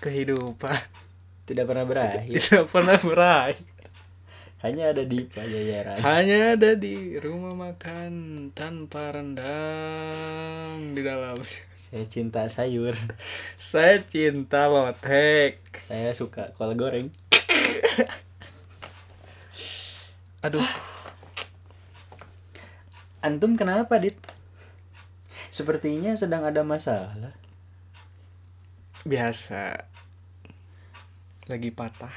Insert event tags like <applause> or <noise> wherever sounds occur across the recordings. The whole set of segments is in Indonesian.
kehidupan tidak pernah <laughs> berakhir tidak pernah berakhir hanya ada di pajajaran hanya ada di rumah makan tanpa rendang di dalam saya cinta sayur saya cinta lotek saya suka kol goreng aduh antum kenapa dit sepertinya sedang ada masalah biasa lagi patah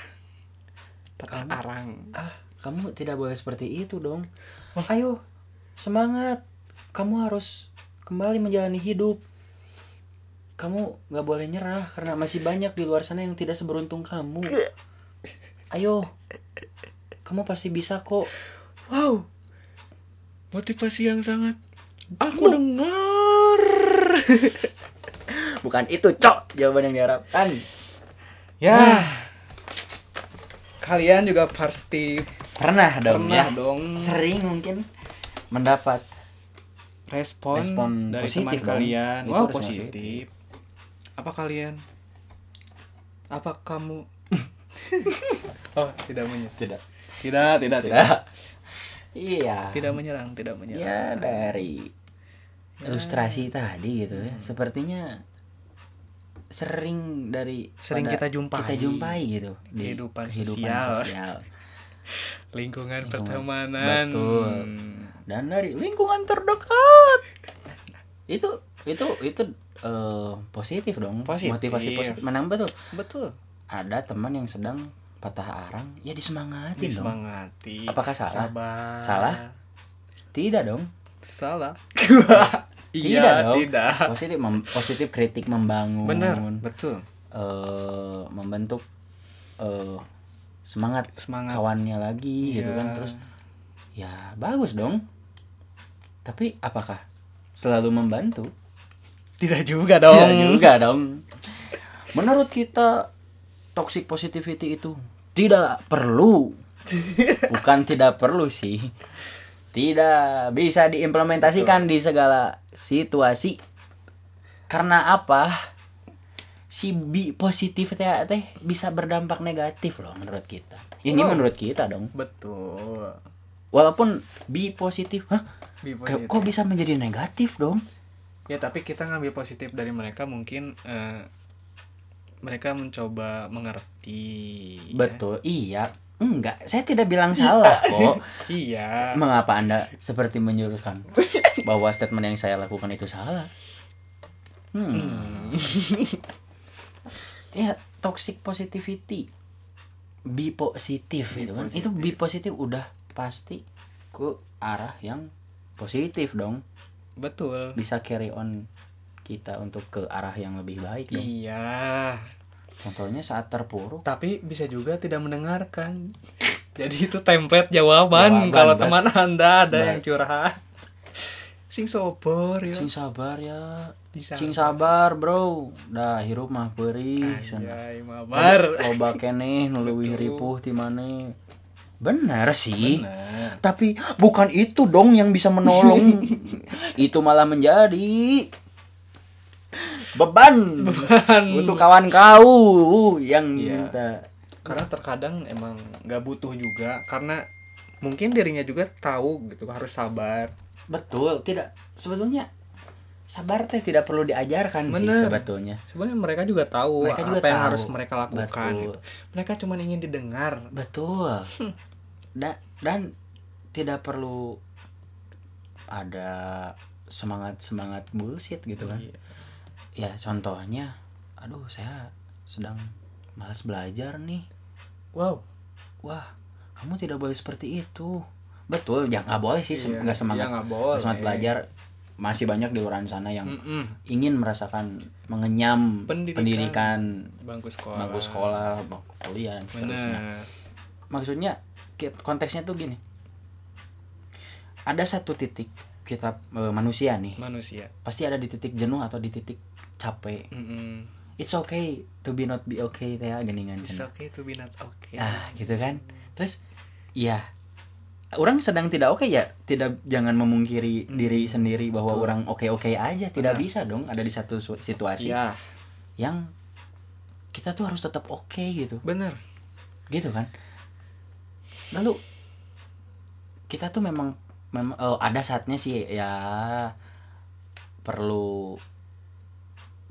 patah arang ah kamu tidak boleh seperti itu dong ayo semangat kamu harus kembali menjalani hidup kamu nggak boleh nyerah karena masih banyak di luar sana yang tidak seberuntung kamu ayo kamu pasti bisa kok wow motivasi yang sangat aku dengar bukan itu cok jawaban yang diharapkan <laughs> ya kalian juga pasti pernah dong pernah ya dong sering mungkin mendapat respon, Respon dari positif teman dong. kalian Itu wow respon positif. apa kalian apa kamu <laughs> oh tidak menyerang tidak tidak tidak tidak tidak iya tidak menyerang tidak menyerang ya dari ilustrasi tadi gitu ya sepertinya sering dari Sering pada- kita jumpai. kita jumpai gitu Kehidupan sosial. sosial. lingkungan pertemanan Betul. dan dari lingkungan terdekat itu itu itu eh, positif dong Positif. motivasi positif menambah tuh betul ada teman yang sedang patah arang ya disemangatin dong disemangati Apakah salah? sabar. Salah? tidak dong salah <laughs> Tidak iya dong. tidak positif mem- positif kritik membangun benar betul eh, membentuk eh, semangat semangat kawannya lagi gitu Iya. kan terus ya bagus dong tapi apakah selalu membantu tidak juga dong Tidak Iya juga dong menurut kita toxic positivity itu tidak <laughs> perlu bukan tidak perlu sih tidak bisa diimplementasikan di segala situasi karena apa si bi positif teh teh bisa berdampak negatif loh menurut kita ini Oh. menurut kita dong betul walaupun bi positif hah Be positif. kok bisa menjadi negatif dong Ya tapi kita ngambil positif dari mereka mungkin eh, mereka mencoba mengerti. ya. Betul, iya. Enggak, saya tidak bilang salah kok. Iya. Mengapa Anda seperti menyuruhkan bahwa statement yang saya lakukan itu salah? Hmm. ya, toxic positivity. Be positif gitu kan. Itu be positif udah pasti ke arah yang positif dong. Betul. Bisa carry on kita untuk ke arah yang lebih baik dong. Iya. Contohnya saat terpuruk Tapi bisa juga tidak mendengarkan. Jadi itu template jawaban, Jawaban, kalau bet. teman Anda ada Bet. yang curhat. Sing sobor ya. Cing sabar ya. Bisa. Cing sabar, Bro. Dah hirup mah perih sana. Anjay, mabar. Loba <laughs> keneh nu Ah, iya. leuwih Betul. ripuh ti maneh. Bener sih. Bener. Tapi bukan itu dong yang bisa <laughs> menolong. itu malah menjadi beban, Beban. untuk kawan kau yang Iya. minta. karena terkadang emang nggak butuh juga karena mungkin dirinya juga tahu gitu harus sabar Betul, tidak sebetulnya sabar teh tidak perlu diajarkan Bener. sih sebetulnya. sebenarnya mereka juga tahu Mereka apa juga yang tahu. harus mereka lakukan Betul. gitu. mereka cuma ingin didengar gitu Betul. Hmm. Da- dan tidak perlu ada semangat-semangat bullshit gitu kan. Iya. Ya contohnya, aduh saya sedang malas belajar nih. wow Wah, kamu tidak boleh seperti itu. Betul, ya nggak boleh sih, sem- Iya, nggak semangat. iya, nggak nggak boleh. semangat belajar masih banyak di luar sana yang Mm-mm. ingin merasakan mengenyam Pendidikan. pendidikan, bangku sekolah bangku sekolah, bangku kuliah dan seterusnya benar maksudnya ki- konteksnya tuh gini ada satu titik kita eh, manusia nih manusia pasti ada di titik jenuh atau di titik capek Mm-mm. it's okay to be not be okay teh geningan it's cenah. okay to be not okay ah gitu kan terus ya orang sedang tidak oke ya tidak jangan memungkiri Hmm. diri sendiri bahwa Betul. orang oke oke aja tidak Benar. bisa dong ada di satu su- situasi Iya. yang kita tuh harus tetap oke gitu bener gitu kan lalu kita tuh memang memang eh, ada saatnya sih ya perlu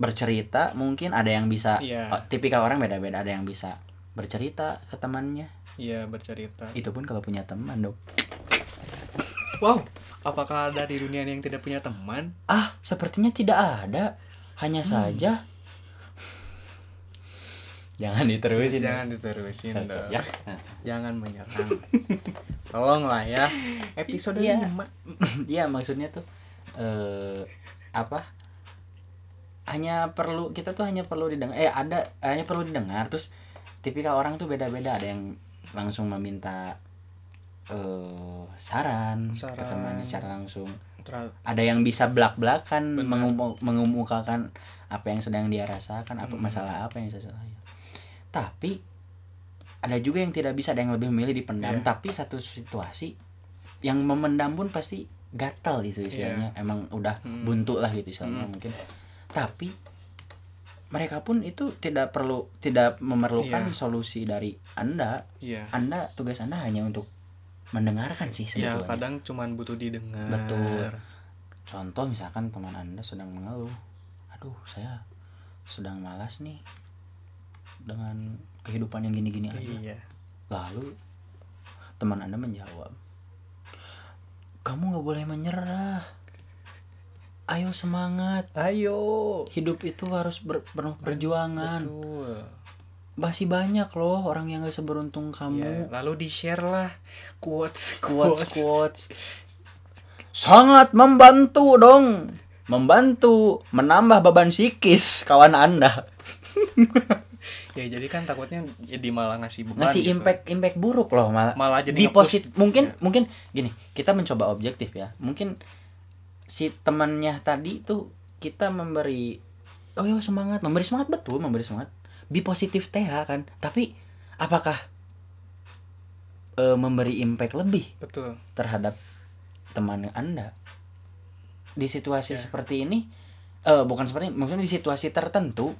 bercerita mungkin ada yang bisa Iya. eh, tipikal orang beda-beda ada yang bisa bercerita ke temannya iya bercerita itu pun kalau punya teman dong wow apakah ada di dunia ini yang tidak punya teman ah sepertinya tidak ada hanya Hmm. saja <laughs> jangan diterusin jangan diterusin Satu, dong ya. jangan <laughs> menyerang tolonglah ya episode Iya. 5 <coughs> Iya maksudnya tuh eh apa? Hanya perlu kita tuh hanya perlu didengar eh ada hanya perlu didengar terus tipikal orang tuh beda-beda ada yang langsung meminta eh saran, ke Saran. temannya secara langsung. Tra- Ada yang bisa belak-belakan Benar. mengumu- mengemukakan apa yang sedang dia rasakan, Hmm. apa masalah apa yang saya Tapi ada juga yang tidak bisa, ada yang lebih memilih dipendam. Iya. Tapi satu situasi yang memendam pun pasti gatal gitu istilahnya emang udah Hmm. buntu lah gitu istilahnya mungkin tapi mereka pun itu tidak perlu tidak memerlukan Iya. solusi dari anda iya anda tugas anda hanya untuk mendengarkan sih ya sebetulnya kadang cuman butuh didengar Iya. Betul. contoh misalkan teman anda sedang mengeluh aduh saya sedang malas nih dengan kehidupan yang gini-gini aja iya Lalu teman Anda menjawab, "Kamu nggak boleh menyerah. Ayo semangat. ayo Hidup itu harus ber- penuh perjuangan. betul Masih banyak loh orang yang gak seberuntung Iya, kamu." lalu di share lah <laughs> quotes Quotes, quotes. Sangat membantu dong. Membantu menambah beban psikis kawan Anda. ya jadi kan takutnya jadi malah ngasih beban ngasih gitu. impact impact buruk loh malah Malah jadi di nge-push. posit mungkin Ya. mungkin gini kita mencoba objektif ya mungkin si temannya tadi tuh kita memberi oh yo semangat memberi semangat betul memberi semangat be positif teh kan tapi apakah eh, memberi impact lebih betul terhadap teman anda di situasi Ya. seperti ini eh bukan seperti ini, maksudnya di situasi tertentu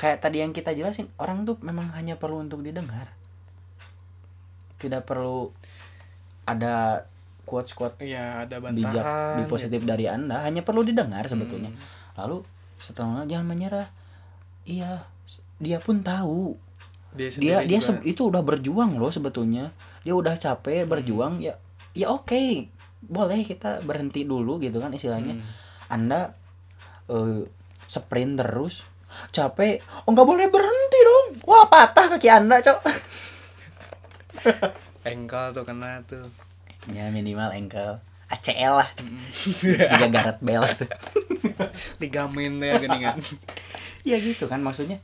kayak tadi yang kita jelasin orang tuh memang hanya perlu untuk didengar tidak perlu ada quotes quote Iya ada bantahan gitu. bijak di positif dari anda hanya perlu didengar sebetulnya Hmm. lalu setelah jangan menyerah iya s- dia pun tahu dia dia sendiri dia juga. se- itu udah berjuang loh sebetulnya dia udah capek berjuang ya ya oke boleh kita berhenti dulu gitu kan istilahnya Hmm. anda eh, sprint terus capek oh nggak boleh berhenti dong wah patah kaki anda cok <laughs> engkel tuh kena tuh ya minimal ankle ACL lah <laughs> juga garet bel <laughs> tuh. ligamen <laughs> ya geningan ya gitu kan maksudnya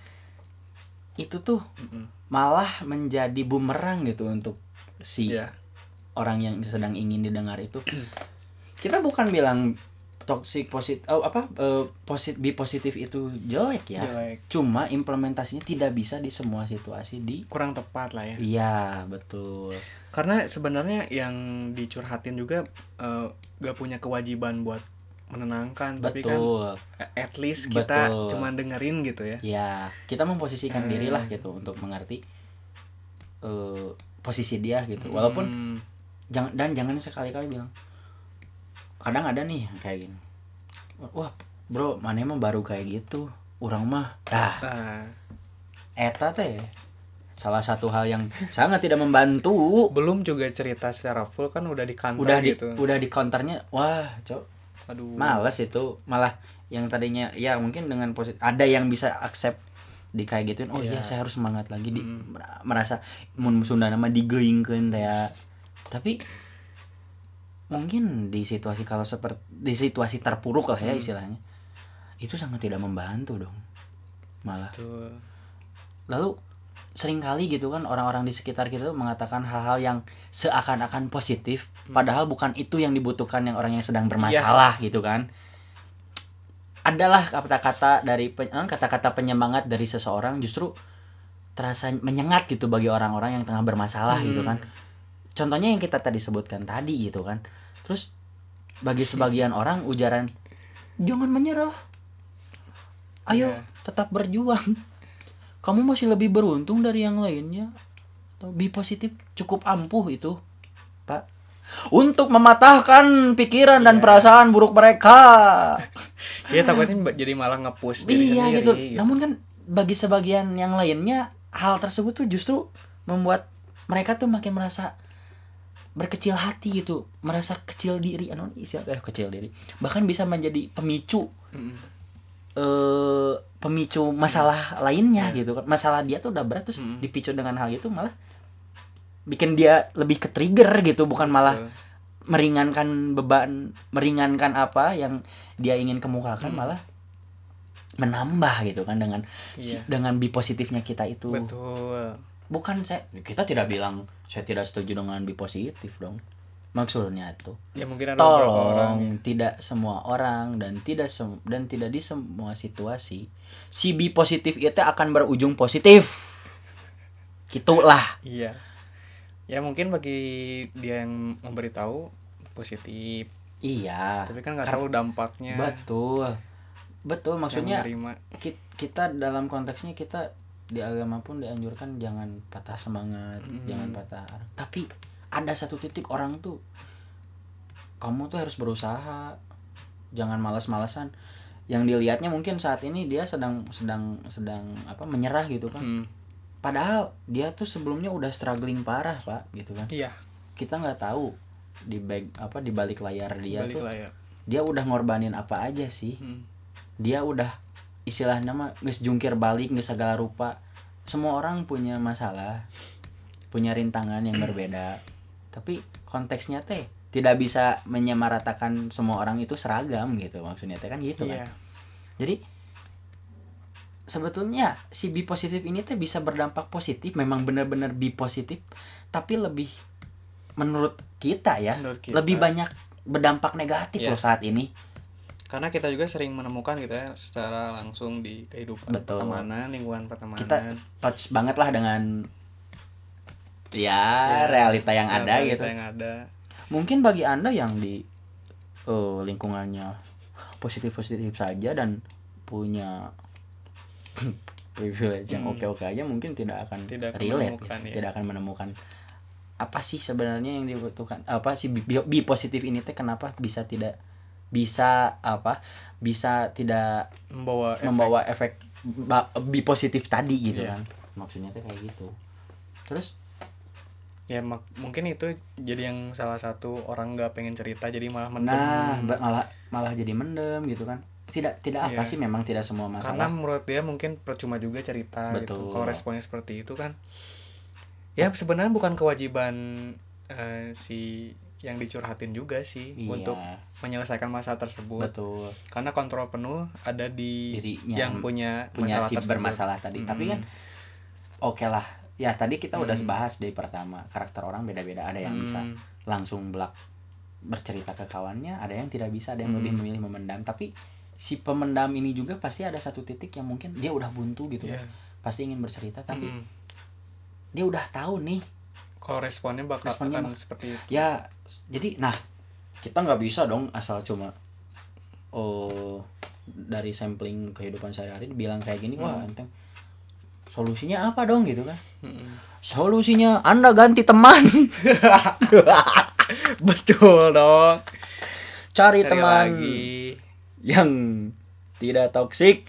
itu tuh Mm-mm. malah menjadi bumerang gitu untuk si Iya. orang yang sedang ingin didengar itu <clears throat> kita bukan bilang toxic positif apa positif be positif itu jelek ya Jelek. cuma implementasinya tidak bisa di semua situasi di kurang tepat lah ya iya betul karena sebenarnya yang dicurhatin juga eh, gak punya kewajiban buat menenangkan tapi kan betul eh, at least kita Betul. cuman dengerin gitu ya ya kita memposisikan Hmm. dirilah gitu untuk mengerti eh, posisi dia gitu walaupun Hmm, jangan dan jangan sekali-kali bilang kadang ada nih yang kayak gini wah bro mana emang baru kayak gitu orang mah dah ah, eta teh salah satu hal yang sangat tidak membantu belum juga cerita secara full kan udah di kantor udah di gitu Hmm. udah di counternya wah cok aduh males itu malah yang tadinya ya mungkin dengan positif ada yang bisa accept di kayak gituin oh iya Iya. saya harus semangat lagi di Mm. mer- merasa mun Sunda nama digeingkeun teh ya. tapi mungkin di situasi kalau seperti di situasi terpuruk lah ya Mm. istilahnya itu sangat tidak membantu dong malah tuh lalu seringkali gitu kan orang-orang di sekitar kita tuh mengatakan hal-hal yang seakan-akan positif padahal bukan itu yang dibutuhkan yang orang yang sedang bermasalah gitu kan adalah kata-kata dari pe- eh, kata-kata penyemangat dari seseorang justru terasa menyengat gitu bagi orang-orang yang tengah bermasalah Hmm. gitu kan contohnya yang kita tadi sebutkan tadi gitu kan terus bagi sebagian orang ujaran jangan menyerah ayo Iya. tetap berjuang kamu masih lebih beruntung dari yang lainnya atau be positif cukup ampuh itu pak untuk mematahkan pikiran dan perasaan buruk mereka Iya takutnya ba- jadi malah ngepush diri iya sendiri, gitu. Namun kan bagi sebagian yang lainnya hal tersebut tuh justru membuat mereka tuh makin merasa berkecil hati gitu, merasa kecil diri, anu istilah eh, kecil diri. Bahkan bisa menjadi pemicu Mm-mm. eh pemicu masalah lainnya Iya. gitu kan. Masalah dia tuh udah berat terus Mm. dipicu dengan hal itu malah bikin dia lebih ke trigger gitu, bukan malah Betul. meringankan beban meringankan apa yang dia ingin kemukakan Hmm. malah menambah gitu kan dengan si- Iya. dengan bi positifnya kita itu Betul. bukan saya kita tidak bilang saya tidak setuju dengan bi positif dong maksudnya itu Ya mungkin ada beberapa orang. tolong tidak semua orang dan tidak sem- dan tidak di semua situasi si bi positif itu akan berujung positif gitulah Iya. Ya mungkin bagi dia yang memberitahu positif, iya tapi kan nggak tahu dampaknya. betul betul yang maksudnya menerima. Ki- kita dalam konteksnya kita di agama pun dianjurkan jangan patah semangat, Mm. jangan patah. arang. Tapi ada satu titik orang tuh kamu tuh harus berusaha. Jangan malas-malasan. Yang dilihatnya mungkin saat ini dia sedang sedang sedang apa menyerah gitu kan. Hmm. Padahal dia tuh sebelumnya udah struggling parah, Pak, gitu kan. Iya, Kita nggak tahu di back apa di balik layar Iya, dia balik tuh layar. dia udah ngorbanin apa aja sih Hmm. dia udah istilahnya mah geus jungkir balik geus segala rupa semua orang punya masalah punya rintangan yang berbeda tapi konteksnya teh tidak bisa menyamaratakan semua orang itu seragam gitu maksudnya teh kan gitu kan Iya. jadi sebetulnya si bi positif ini teh bisa berdampak positif memang benar-benar bi positif tapi lebih menurut kita ya Menurut kita. lebih banyak berdampak negatif Iya. loh saat ini Karena kita juga sering menemukan gitu ya secara langsung di kehidupan Betul. pertemanan, lingkungan pertemanan. kita touch banget lah dengan ya, Ya, realita yang ada realita gitu Yang ada. mungkin bagi anda yang di eh, lingkungannya positif positif saja dan punya <coughs> privilege yang Hmm. oke oke aja mungkin tidak akan Tidak akan relate menemukan, gitu. ya. tidak akan menemukan apa sih sebenarnya yang dibutuhkan apa sih bi, bi- bi positif ini teh kenapa bisa tidak bisa apa bisa tidak membawa eh, efek. membawa efek ba- bi positif tadi gitu Iya. kan maksudnya tuh kayak gitu terus ya mak- mungkin itu jadi yang salah satu orang nggak pengen cerita jadi malah mendem nah ba- malah malah jadi mendem gitu kan tidak tidak apa Iya. sih memang tidak semua karena masalah menurut dia mungkin percuma juga cerita gitu Betul. kalau responnya seperti itu kan ya sebenarnya bukan kewajiban eh, si yang dicurhatin juga sih Iya. untuk menyelesaikan masalah tersebut betul karena kontrol penuh ada di Dirinya yang punya punya masalah si tersebut. bermasalah tadi tapi Mm. kan oke lah ya tadi kita udah Mm. bahas dari pertama karakter orang beda-beda ada yang bisa gitu Hmm, langsung belak bercerita ke kawannya ada yang tidak bisa ada yang Hmm. lebih memilih memendam tapi si pemendam ini juga pasti ada satu titik yang mungkin dia udah buntu gitu Iya. kan. pasti ingin bercerita tapi Mm. dia udah tahu nih kalau responnya bakal Responnya akan bak- seperti itu ya s- jadi nah kita nggak bisa dong asal cuma oh dari sampling kehidupan sehari-hari bilang kayak gini wah Hmm. enteng solusinya apa dong gitu kan Mm-mm. solusinya anda ganti teman <laughs> betul dong cari, Cari teman lagi yang tidak toksik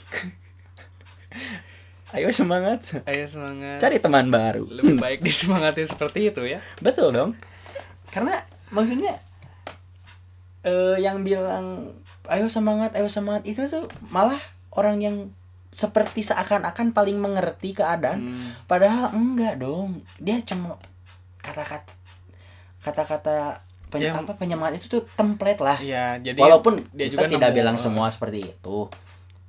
<laughs> ayo semangat ayo semangat cari teman baru lebih baik disemangati seperti itu ya Betul dong. Karena maksudnya eh yang bilang ayo semangat, ayo semangat itu tuh malah orang yang seperti seakan-akan paling mengerti Hmm. keadaan. Padahal enggak dong. Dia cuma kata-kata kata-kata pen- Yang- apa penyemangat itu tuh template lah. Iya, jadi Walaupun dia juga kita tidak nemu, bilang eh, semua seperti itu.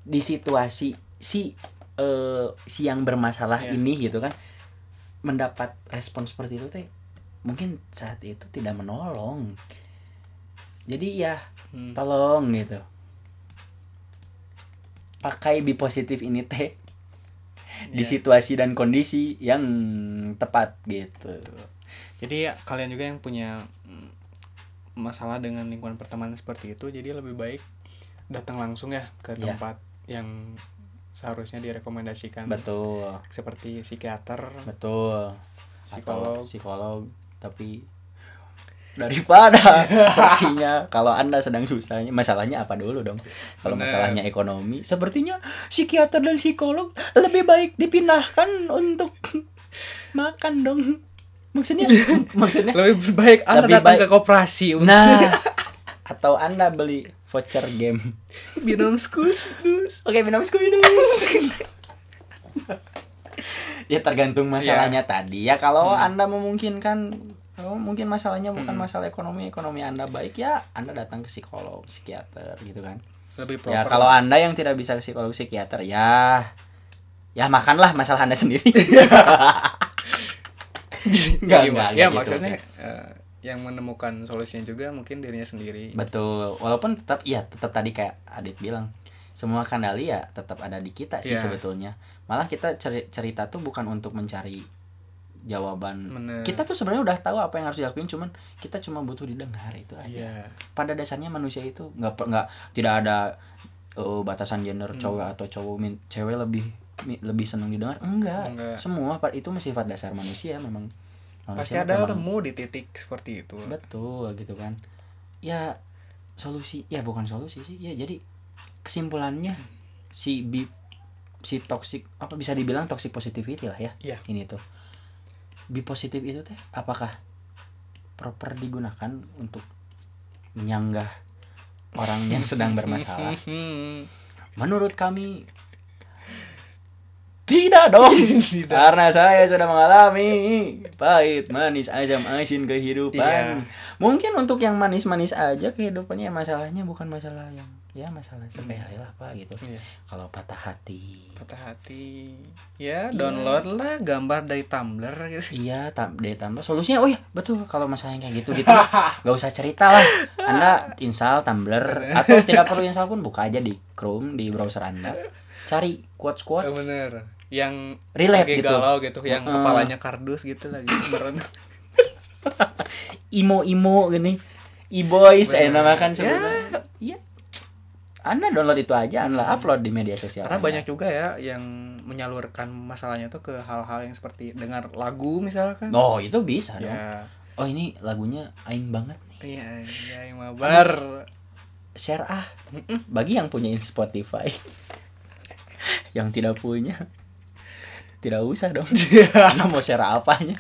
Di situasi si eh, si yang bermasalah Iya. ini gitu kan mendapat respon seperti itu teh mungkin saat itu tidak menolong. Jadi ya hmm, tolong gitu. Pakai bi positif ini teh di iya. situasi dan kondisi yang tepat gitu. Jadi ya, kalian juga yang punya mm, masalah dengan lingkungan pertemanan seperti itu, jadi lebih baik datang langsung ya ke Iya. tempat yang seharusnya direkomendasikan betul seperti psikiater betul Hmm. Psikolog. atau psikolog tapi <laughs> daripada sepertinya kalau anda sedang susahnya masalahnya apa dulu dong kalau Bener. masalahnya ekonomi sepertinya psikiater dan psikolog lebih baik dipindahkan untuk <laughs> makan dong maksudnya maksudnya lebih baik anda Lebih datang baik- ke koperasi untuk nah <laughs> atau anda beli voucher game minum skus dus. Oke, minum Scooby-Doo. <laughs> ya tergantung masalahnya tadi ya kalau anda memungkinkan kalau mungkin masalahnya bukan masalah ekonomi ekonomi anda baik ya anda datang ke psikolog psikiater gitu kan lebih ya proper Iya, kalau anda yang tidak bisa ke psikolog psikiater ya ya makanlah masalah anda sendiri Nggak, nggak, Gimana? nggak ya gitu maksudnya maksudnya. eh, yang menemukan solusinya juga mungkin dirinya sendiri betul walaupun tetap ya tetap tadi kayak adit bilang semua kendali ya tetap ada di kita sih Iya. sebetulnya malah kita ceri- cerita tuh bukan untuk mencari jawaban Bener. kita tuh sebenarnya udah tahu apa yang harus dilakuin cuman kita cuma butuh didengar itu aja Iya. pada dasarnya manusia itu nggak per- nggak tidak ada eh, batasan gender Hmm. cowok atau cowok min- cewek lebih mi- lebih senang didengar enggak, Enggak. semua pa- itu sifat dasar manusia memang pasti manusia ada memang- nemu di titik seperti itu Iya. betul gitu kan ya solusi ya bukan solusi sih ya jadi kesimpulannya si bi si toxic apa bisa dibilang toxic positivity lah ya Iya. ini tuh bi positif itu teh apakah proper digunakan untuk menyanggah orang yang sedang <laughs> bermasalah Hmm. menurut kami tidak <laughs> dong karena saya sudah mengalami pahit manis azam asin Iya. kehidupan mungkin untuk yang manis-manis aja kehidupannya ya masalahnya bukan masalah yang ya masalah sepele lah pak gitu Iya. kalau patah hati patah hati ya download lah gambar dari Tumblr gitu Iya, tam dia tambah solusinya. Oh iya, betul. Kalau masalah yang kayak <laughs> gitu gitu, nggak usah cerita lah. Anda install Tumblr atau tidak perlu install pun buka aja di Chrome di browser Anda. Cari quotes Eh, quotes bener yang Relate lagi gitu. galau gitu yang Heeh. kepalanya kardus gitu lagi <laughs> merenung imo imo gini e boys Bener. enak makan Ya. sebenarnya iya anda download itu aja anda upload di media sosial karena Anda. banyak juga ya yang menyalurkan masalahnya tuh ke hal-hal yang seperti dengar lagu misalkan oh itu bisa dong ya oh ini lagunya aing banget nih iya iya yang mabar share ah bagi yang punya Spotify <laughs> yang tidak punya tidak <laughs> usah dong anda mau share apanya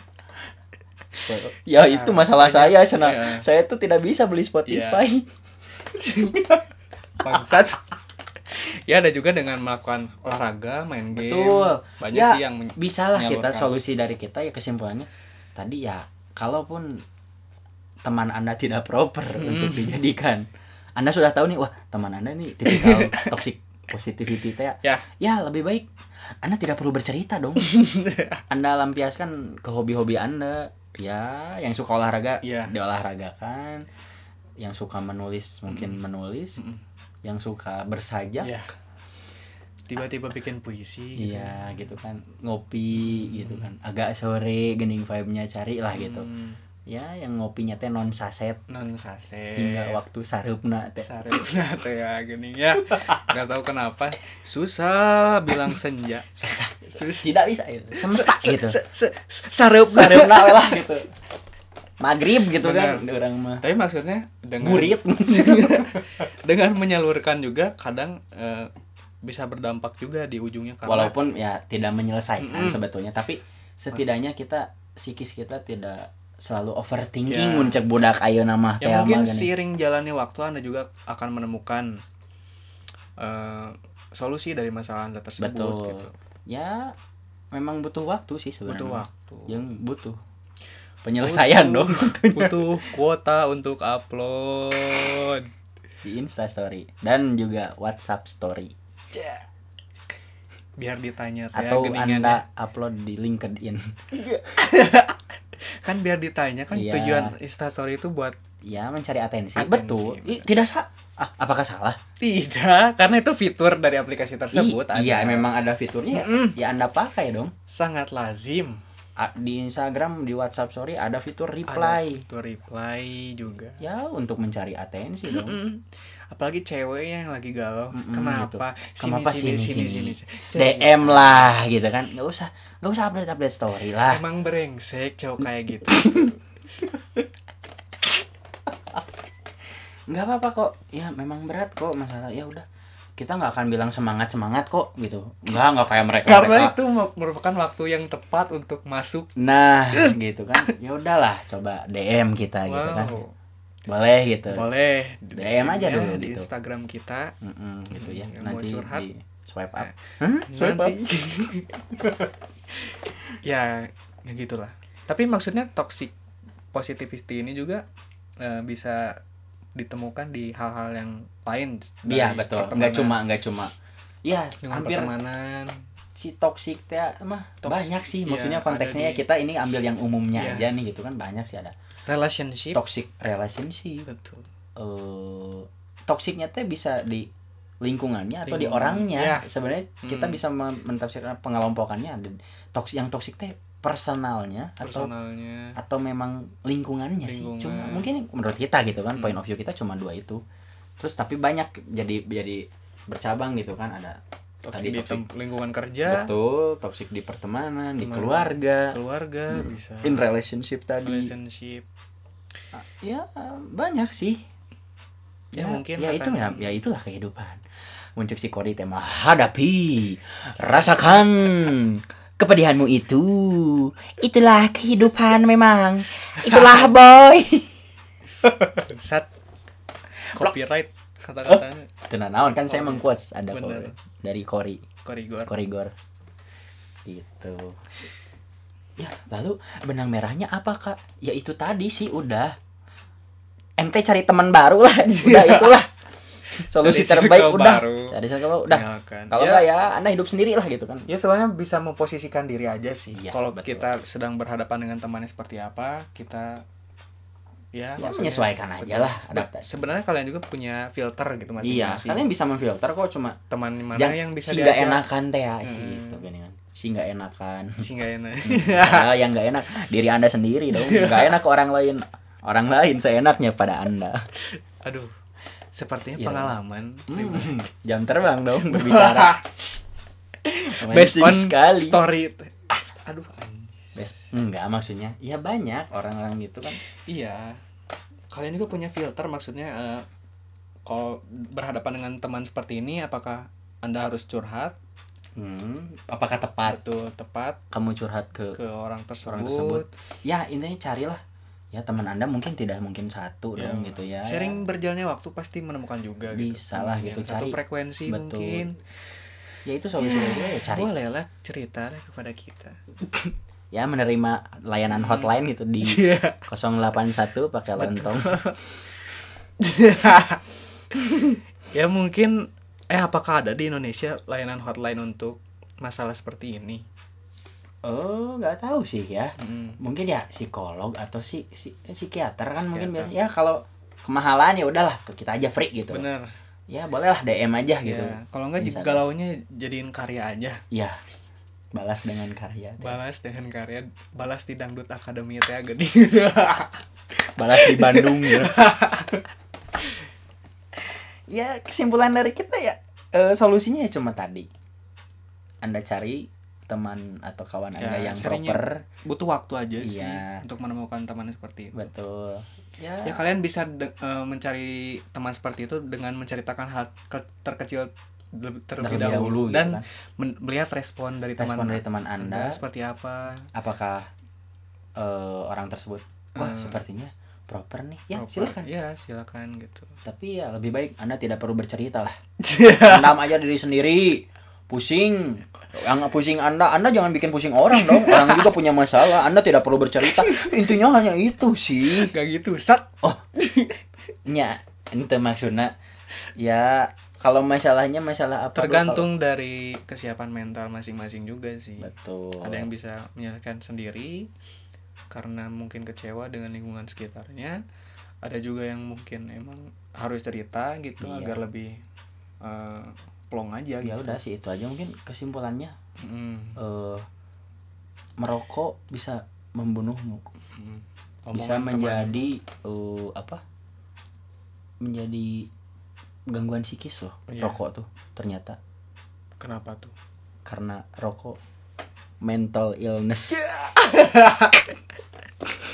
Spo- ya itu masalah saya Sena. Iya. saya tuh tidak Ya. bisa beli Spotify bangsat <laughs> ya ada juga dengan melakukan olahraga main game Betul. banyak Ya, sih yang men- bisa lah menyalurkan. kita solusi dari kita ya kesimpulannya tadi ya kalaupun teman anda tidak proper Hmm. untuk dijadikan anda sudah tahu nih wah teman anda nih <laughs> tipikal toxic positivity teh Ya. ya lebih baik anda tidak perlu bercerita <laughs> dong anda lampiaskan ke hobi-hobi anda ya yang suka olahraga Iya. diolahragakan yang suka menulis mungkin Hmm. menulis Mm-mm. yang suka bersajak ya tiba-tiba bikin puisi gitu. Iya gitu kan ngopi gitu kan agak sore gening vibe-nya cari lah gitu Hmm, ya yang ngopinya teh non saset non sase hingga waktu sareupna teh <laughs> Saripna teh ya gini ya nggak tahu kenapa susah bilang senja susah <laughs> Sus- tidak bisa gitu. semesta gitu Saripna. sareupna <laughs> we lah gitu maghrib gitu kan Benar. orang mah tapi maksudnya dengan burit <laughs> dengan menyalurkan juga kadang eh, bisa berdampak juga di ujungnya karena walaupun ya tidak menyelesaikan Mm-mm. sebetulnya tapi setidaknya kita psikis kita tidak selalu overthinking Ya. muncak budak ayo nama ya mungkin seiring jalannya waktu anda juga akan menemukan eh, solusi dari masalah anda tersebut Betul. gitu ya memang butuh waktu sih sebenarnya butuh waktu yang butuh penyelesaian Butuh- Nah, dong tentunya. <laughs> butuh kuota untuk upload <laughs> di Insta Story dan juga WhatsApp Story biar ditanya teh atau geningan ya. anda upload di LinkedIn <laughs> kan biar ditanya kan Iya. tujuan instastory itu buat ya mencari atensi, Atensi, betul betul. Ih, tidak sa ah, apakah salah tidak <laughs> karena itu fitur dari aplikasi Ih, tersebut ada. iya memang ada fiturnya Mm-mm. ya anda pakai dong sangat lazim A- di Instagram di WhatsApp Story ada fitur Ada reply fitur reply juga ya untuk mencari atensi dong Mm. apalagi ceweknya yang lagi galau Mm-mm, kenapa Hmm, gitu. Kenapa sini, sini. sini? DM lah gitu kan nggak usah nggak usah update update story lah emang brengsek cowok kayak gitu <laughs> nggak apa apa kok ya memang berat kok masalah ya udah kita nggak akan bilang semangat semangat kok gitu nggak nggak kayak mereka karena mereka itu me- merupakan waktu yang tepat untuk masuk <laughs> nah gitu kan ya udahlah coba DM kita gitu kan wow boleh gitu boleh DM aja Ya, dulu di gitu. Instagram kita Mm-mm, gitu ya Yang mau nanti curhat. di swipe up Eh, Hah? Hmm, swipe up <laughs> nanti ya ya gitulah tapi maksudnya toxic positivity ini juga eh, bisa ditemukan di hal-hal yang lain dari iya betul nggak pertemanan. cuma nggak cuma ya Lingkungan hampir pertemanan si toxic teh mah Toks- banyak sih maksudnya iya, konteksnya ada ya di- kita ini ambil yang umumnya Iya. aja nih gitu kan banyak sih ada relationship toxic relationship betul eh toksiknya teh bisa di lingkungannya atau di Lingkungan, orangnya iya. sebenarnya kita Hmm. bisa men- mentafsirkan pengelompokannya ada toks yang toksik teh personalnya atau personalnya atau memang lingkungannya sih cuma Lingkungan. mungkin menurut kita gitu kan Hmm. point of view kita cuma dua itu terus tapi banyak jadi jadi bercabang gitu kan ada toxic di toxic. tem- lingkungan Ya. kerja betul toksik di pertemanan di Teman. keluarga keluarga bisa in relationship tadi relationship ya banyak sih Ya, mungkin ya akan- itu ya, ya itulah kehidupan muncul si Kori tema hadapi rasakan kepedihanmu itu itulah kehidupan memang itulah <laughs> boy sat copyright Oh. kata-katanya tenan naon kan saya Oh, iya. mengquotes ada Bener. Kori- dari Kori korigor Korigor gitu ya lalu benang merahnya apa kak ya itu tadi sih udah ente cari teman baru lah udah <laughs> itulah solusi Cari terbaik circle udah baru. cari circle baru. udah Tinggalkan. kalau Ya. enggak ya anda hidup sendiri lah gitu kan ya sebenarnya bisa memposisikan diri aja sih Iya, kalau betul. kita sedang berhadapan dengan temannya seperti apa kita ya, Ya, maksudnya- menyesuaikan aja Betul. lah, adaptasi. sebenarnya kalian juga punya filter gitu iya masing-masing kalian bisa memfilter kok cuma teman mana jang- yang bisa si nggak diajak, enakan teh ya si Hmm. gitu gini kan si nggak enakan <laughs> si nggak enak Padahal yang nggak enak diri anda sendiri dong nggak enak ke orang lain orang lain seenaknya pada anda <laughs> aduh sepertinya Iya. pengalaman Hmm, jam terbang dong <laughs> berbicara. based Amazing on sekali. story Ah, aduh anjing. Based- enggak maksudnya. Ya banyak orang-orang gitu kan. iya kalian juga punya filter maksudnya eh, kalau berhadapan dengan teman seperti ini apakah anda harus curhat Hmm, apakah tepat betul tepat kamu curhat ke ke orang tersebut, orang tersebut? Ya, intinya carilah ya teman Anda mungkin tidak mungkin satu Ya, dong gitu ya. sharing berjalannya waktu pasti menemukan juga Bisa lah Yang gitu, satu cari. frekuensi Betul. mungkin Ya itu solusi ya, ya cari. boleh lah cerita deh kepada kita Ya menerima layanan Hmm. hotline gitu di <laughs> Iya. 081 pakai lontong. Iya. <laughs> ya mungkin eh apakah ada di Indonesia layanan hotline untuk masalah seperti ini Oh, nggak tahu sih ya. Mm. mungkin ya psikolog atau si, si psikiater kan mungkin Psikiater. biasanya ya kalau kemahalan ya udahlah ke kita aja free gitu bener ya boleh lah DM aja gitu ya kalau nggak Bisa. galau nya jadiin karya aja ya balas dengan karya balas dengan karya balas di dangdut akademi teh <laughs> gede balas di Bandung <laughs> gitu. ya kesimpulan dari kita ya eh, solusinya ya cuma tadi anda cari teman atau kawan Ya, anda yang seringnya- proper butuh waktu aja sih Iya. untuk menemukan teman seperti itu betul ya, Ya kalian bisa de- eh, mencari teman seperti itu dengan menceritakan hal ke- terkecil le- terlebih, terlebih dahulu, dahulu gitu dan kan. men- melihat respon dari respon teman dari teman anda seperti apa. apakah eh, orang tersebut wah Hmm. sepertinya proper nih ya Proper. silakan Ya, silakan gitu. <laughs> tapi ya lebih baik anda tidak perlu bercerita lah pendam aja diri sendiri pusing yang pusing anda anda jangan bikin pusing orang dong orang juga punya masalah anda tidak perlu bercerita intinya hanya itu sih Gak gitu, sat. oh nya itu maksudnya ya kalau masalahnya masalah apa dulu, Tergantung dari kesiapan mental masing-masing juga sih. kalau- betul Ada yang bisa menyelesaikan sendiri karena mungkin kecewa dengan lingkungan sekitarnya. Ada juga yang mungkin emang harus cerita gitu Iya. agar lebih eh, plong aja ya gitu. udah sih itu aja mungkin kesimpulannya Mm. eh merokok bisa membunuhmu Hmm. Omongan bisa uh, teman. menjadi eh, apa menjadi gangguan psikis loh Iya. rokok tuh ternyata Kenapa tuh? karena rokok mental illness. Iya. <laughs>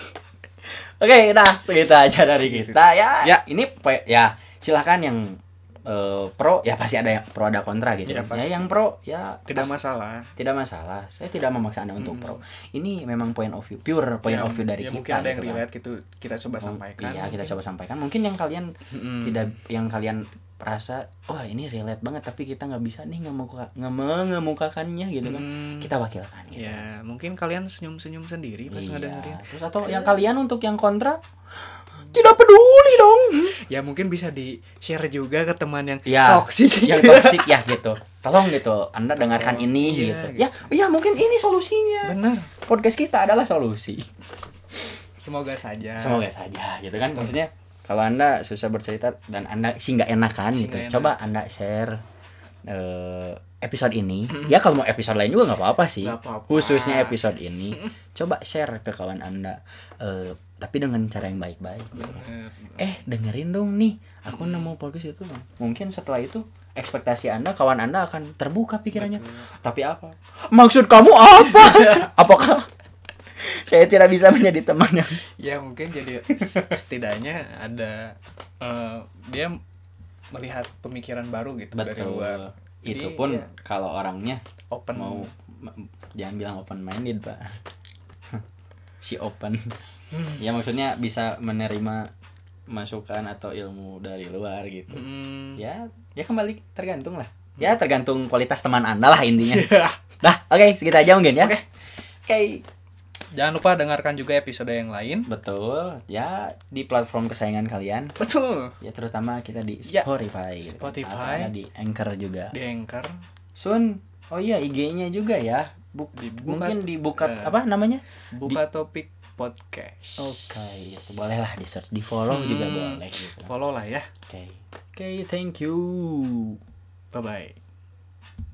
Oke, nah segitu aja dari kita ya. Ya. ini pe- ya silahkan yang eh, pro ya pasti ada yang pro ada kontra gitu. Ya, Ya, pasti. yang pro ya Tidak pas- masalah. tidak masalah. Saya tidak memaksa Anda untuk pro. Ini memang point of view, pure point Ya, of view ya dari kita. Mungkin ada yang gitu kan. relate gitu kita coba Mung- sampaikan. Iya, kita coba sampaikan. Mungkin yang kalian Mm-mm. tidak yang kalian rasa wah ini relate banget tapi kita nggak bisa nih ngemuka, ngeme- ngemukakannya gitu kan Mm. kita wakilkan gitu. Ya, mungkin kalian senyum-senyum sendiri pas Iya. ngedengerin. Terus atau yang kalian untuk yang kontra tidak peduli dong. Ya mungkin bisa di-share juga ke teman yang Ya. toksik. <laughs> yang toksik ya gitu. Tolong gitu, Anda dengarkan Tolong. ini Iya, gitu. gitu. Ya, ya mungkin ini solusinya. <laughs> Bener. Podcast kita adalah solusi. Semoga saja. Semoga saja gitu kan maksudnya. Kalau Anda susah bercerita dan Anda sih nggak enakan Sih gitu. nggak enak. Coba Anda share eh, episode ini. Ya kalau mau episode lain juga nggak apa-apa sih. Nggak apa-apa. Khususnya episode ini. Coba share ke kawan Anda eh, tapi dengan cara yang baik-baik gitu. Bener. eh dengerin dong nih aku nemu podcast itu mungkin setelah itu ekspektasi anda kawan anda akan terbuka pikirannya tapi apa maksud kamu apa <laughs> apakah saya tidak bisa menjadi teman yang Ya mungkin jadi setidaknya ada eh, dia melihat pemikiran baru gitu dari luar. Jadi, itu pun ya, kalau orangnya open mau m- jangan bilang open minded pak <laughs> si open Hmm. ya maksudnya bisa menerima masukan atau ilmu dari luar gitu Mm. ya ya kembali tergantung lah Hmm. ya tergantung kualitas teman anda lah intinya <laughs> Ya, dah oke segitu aja mungkin ya oke Jangan lupa dengarkan juga episode yang lain. betul ya di platform kesayangan kalian Betul. ya terutama kita di Ya, Spotify gitu. Spotify. Atau ada di Anchor juga Di Anchor, Sun oh iya IG-nya juga ya Buk- Dibuka- mungkin dibuka eh. apa namanya buka topik podcast. oke itu bolehlah di search di follow Hmm. juga boleh gitu oke Follow lah ya. oke thank you Bye bye.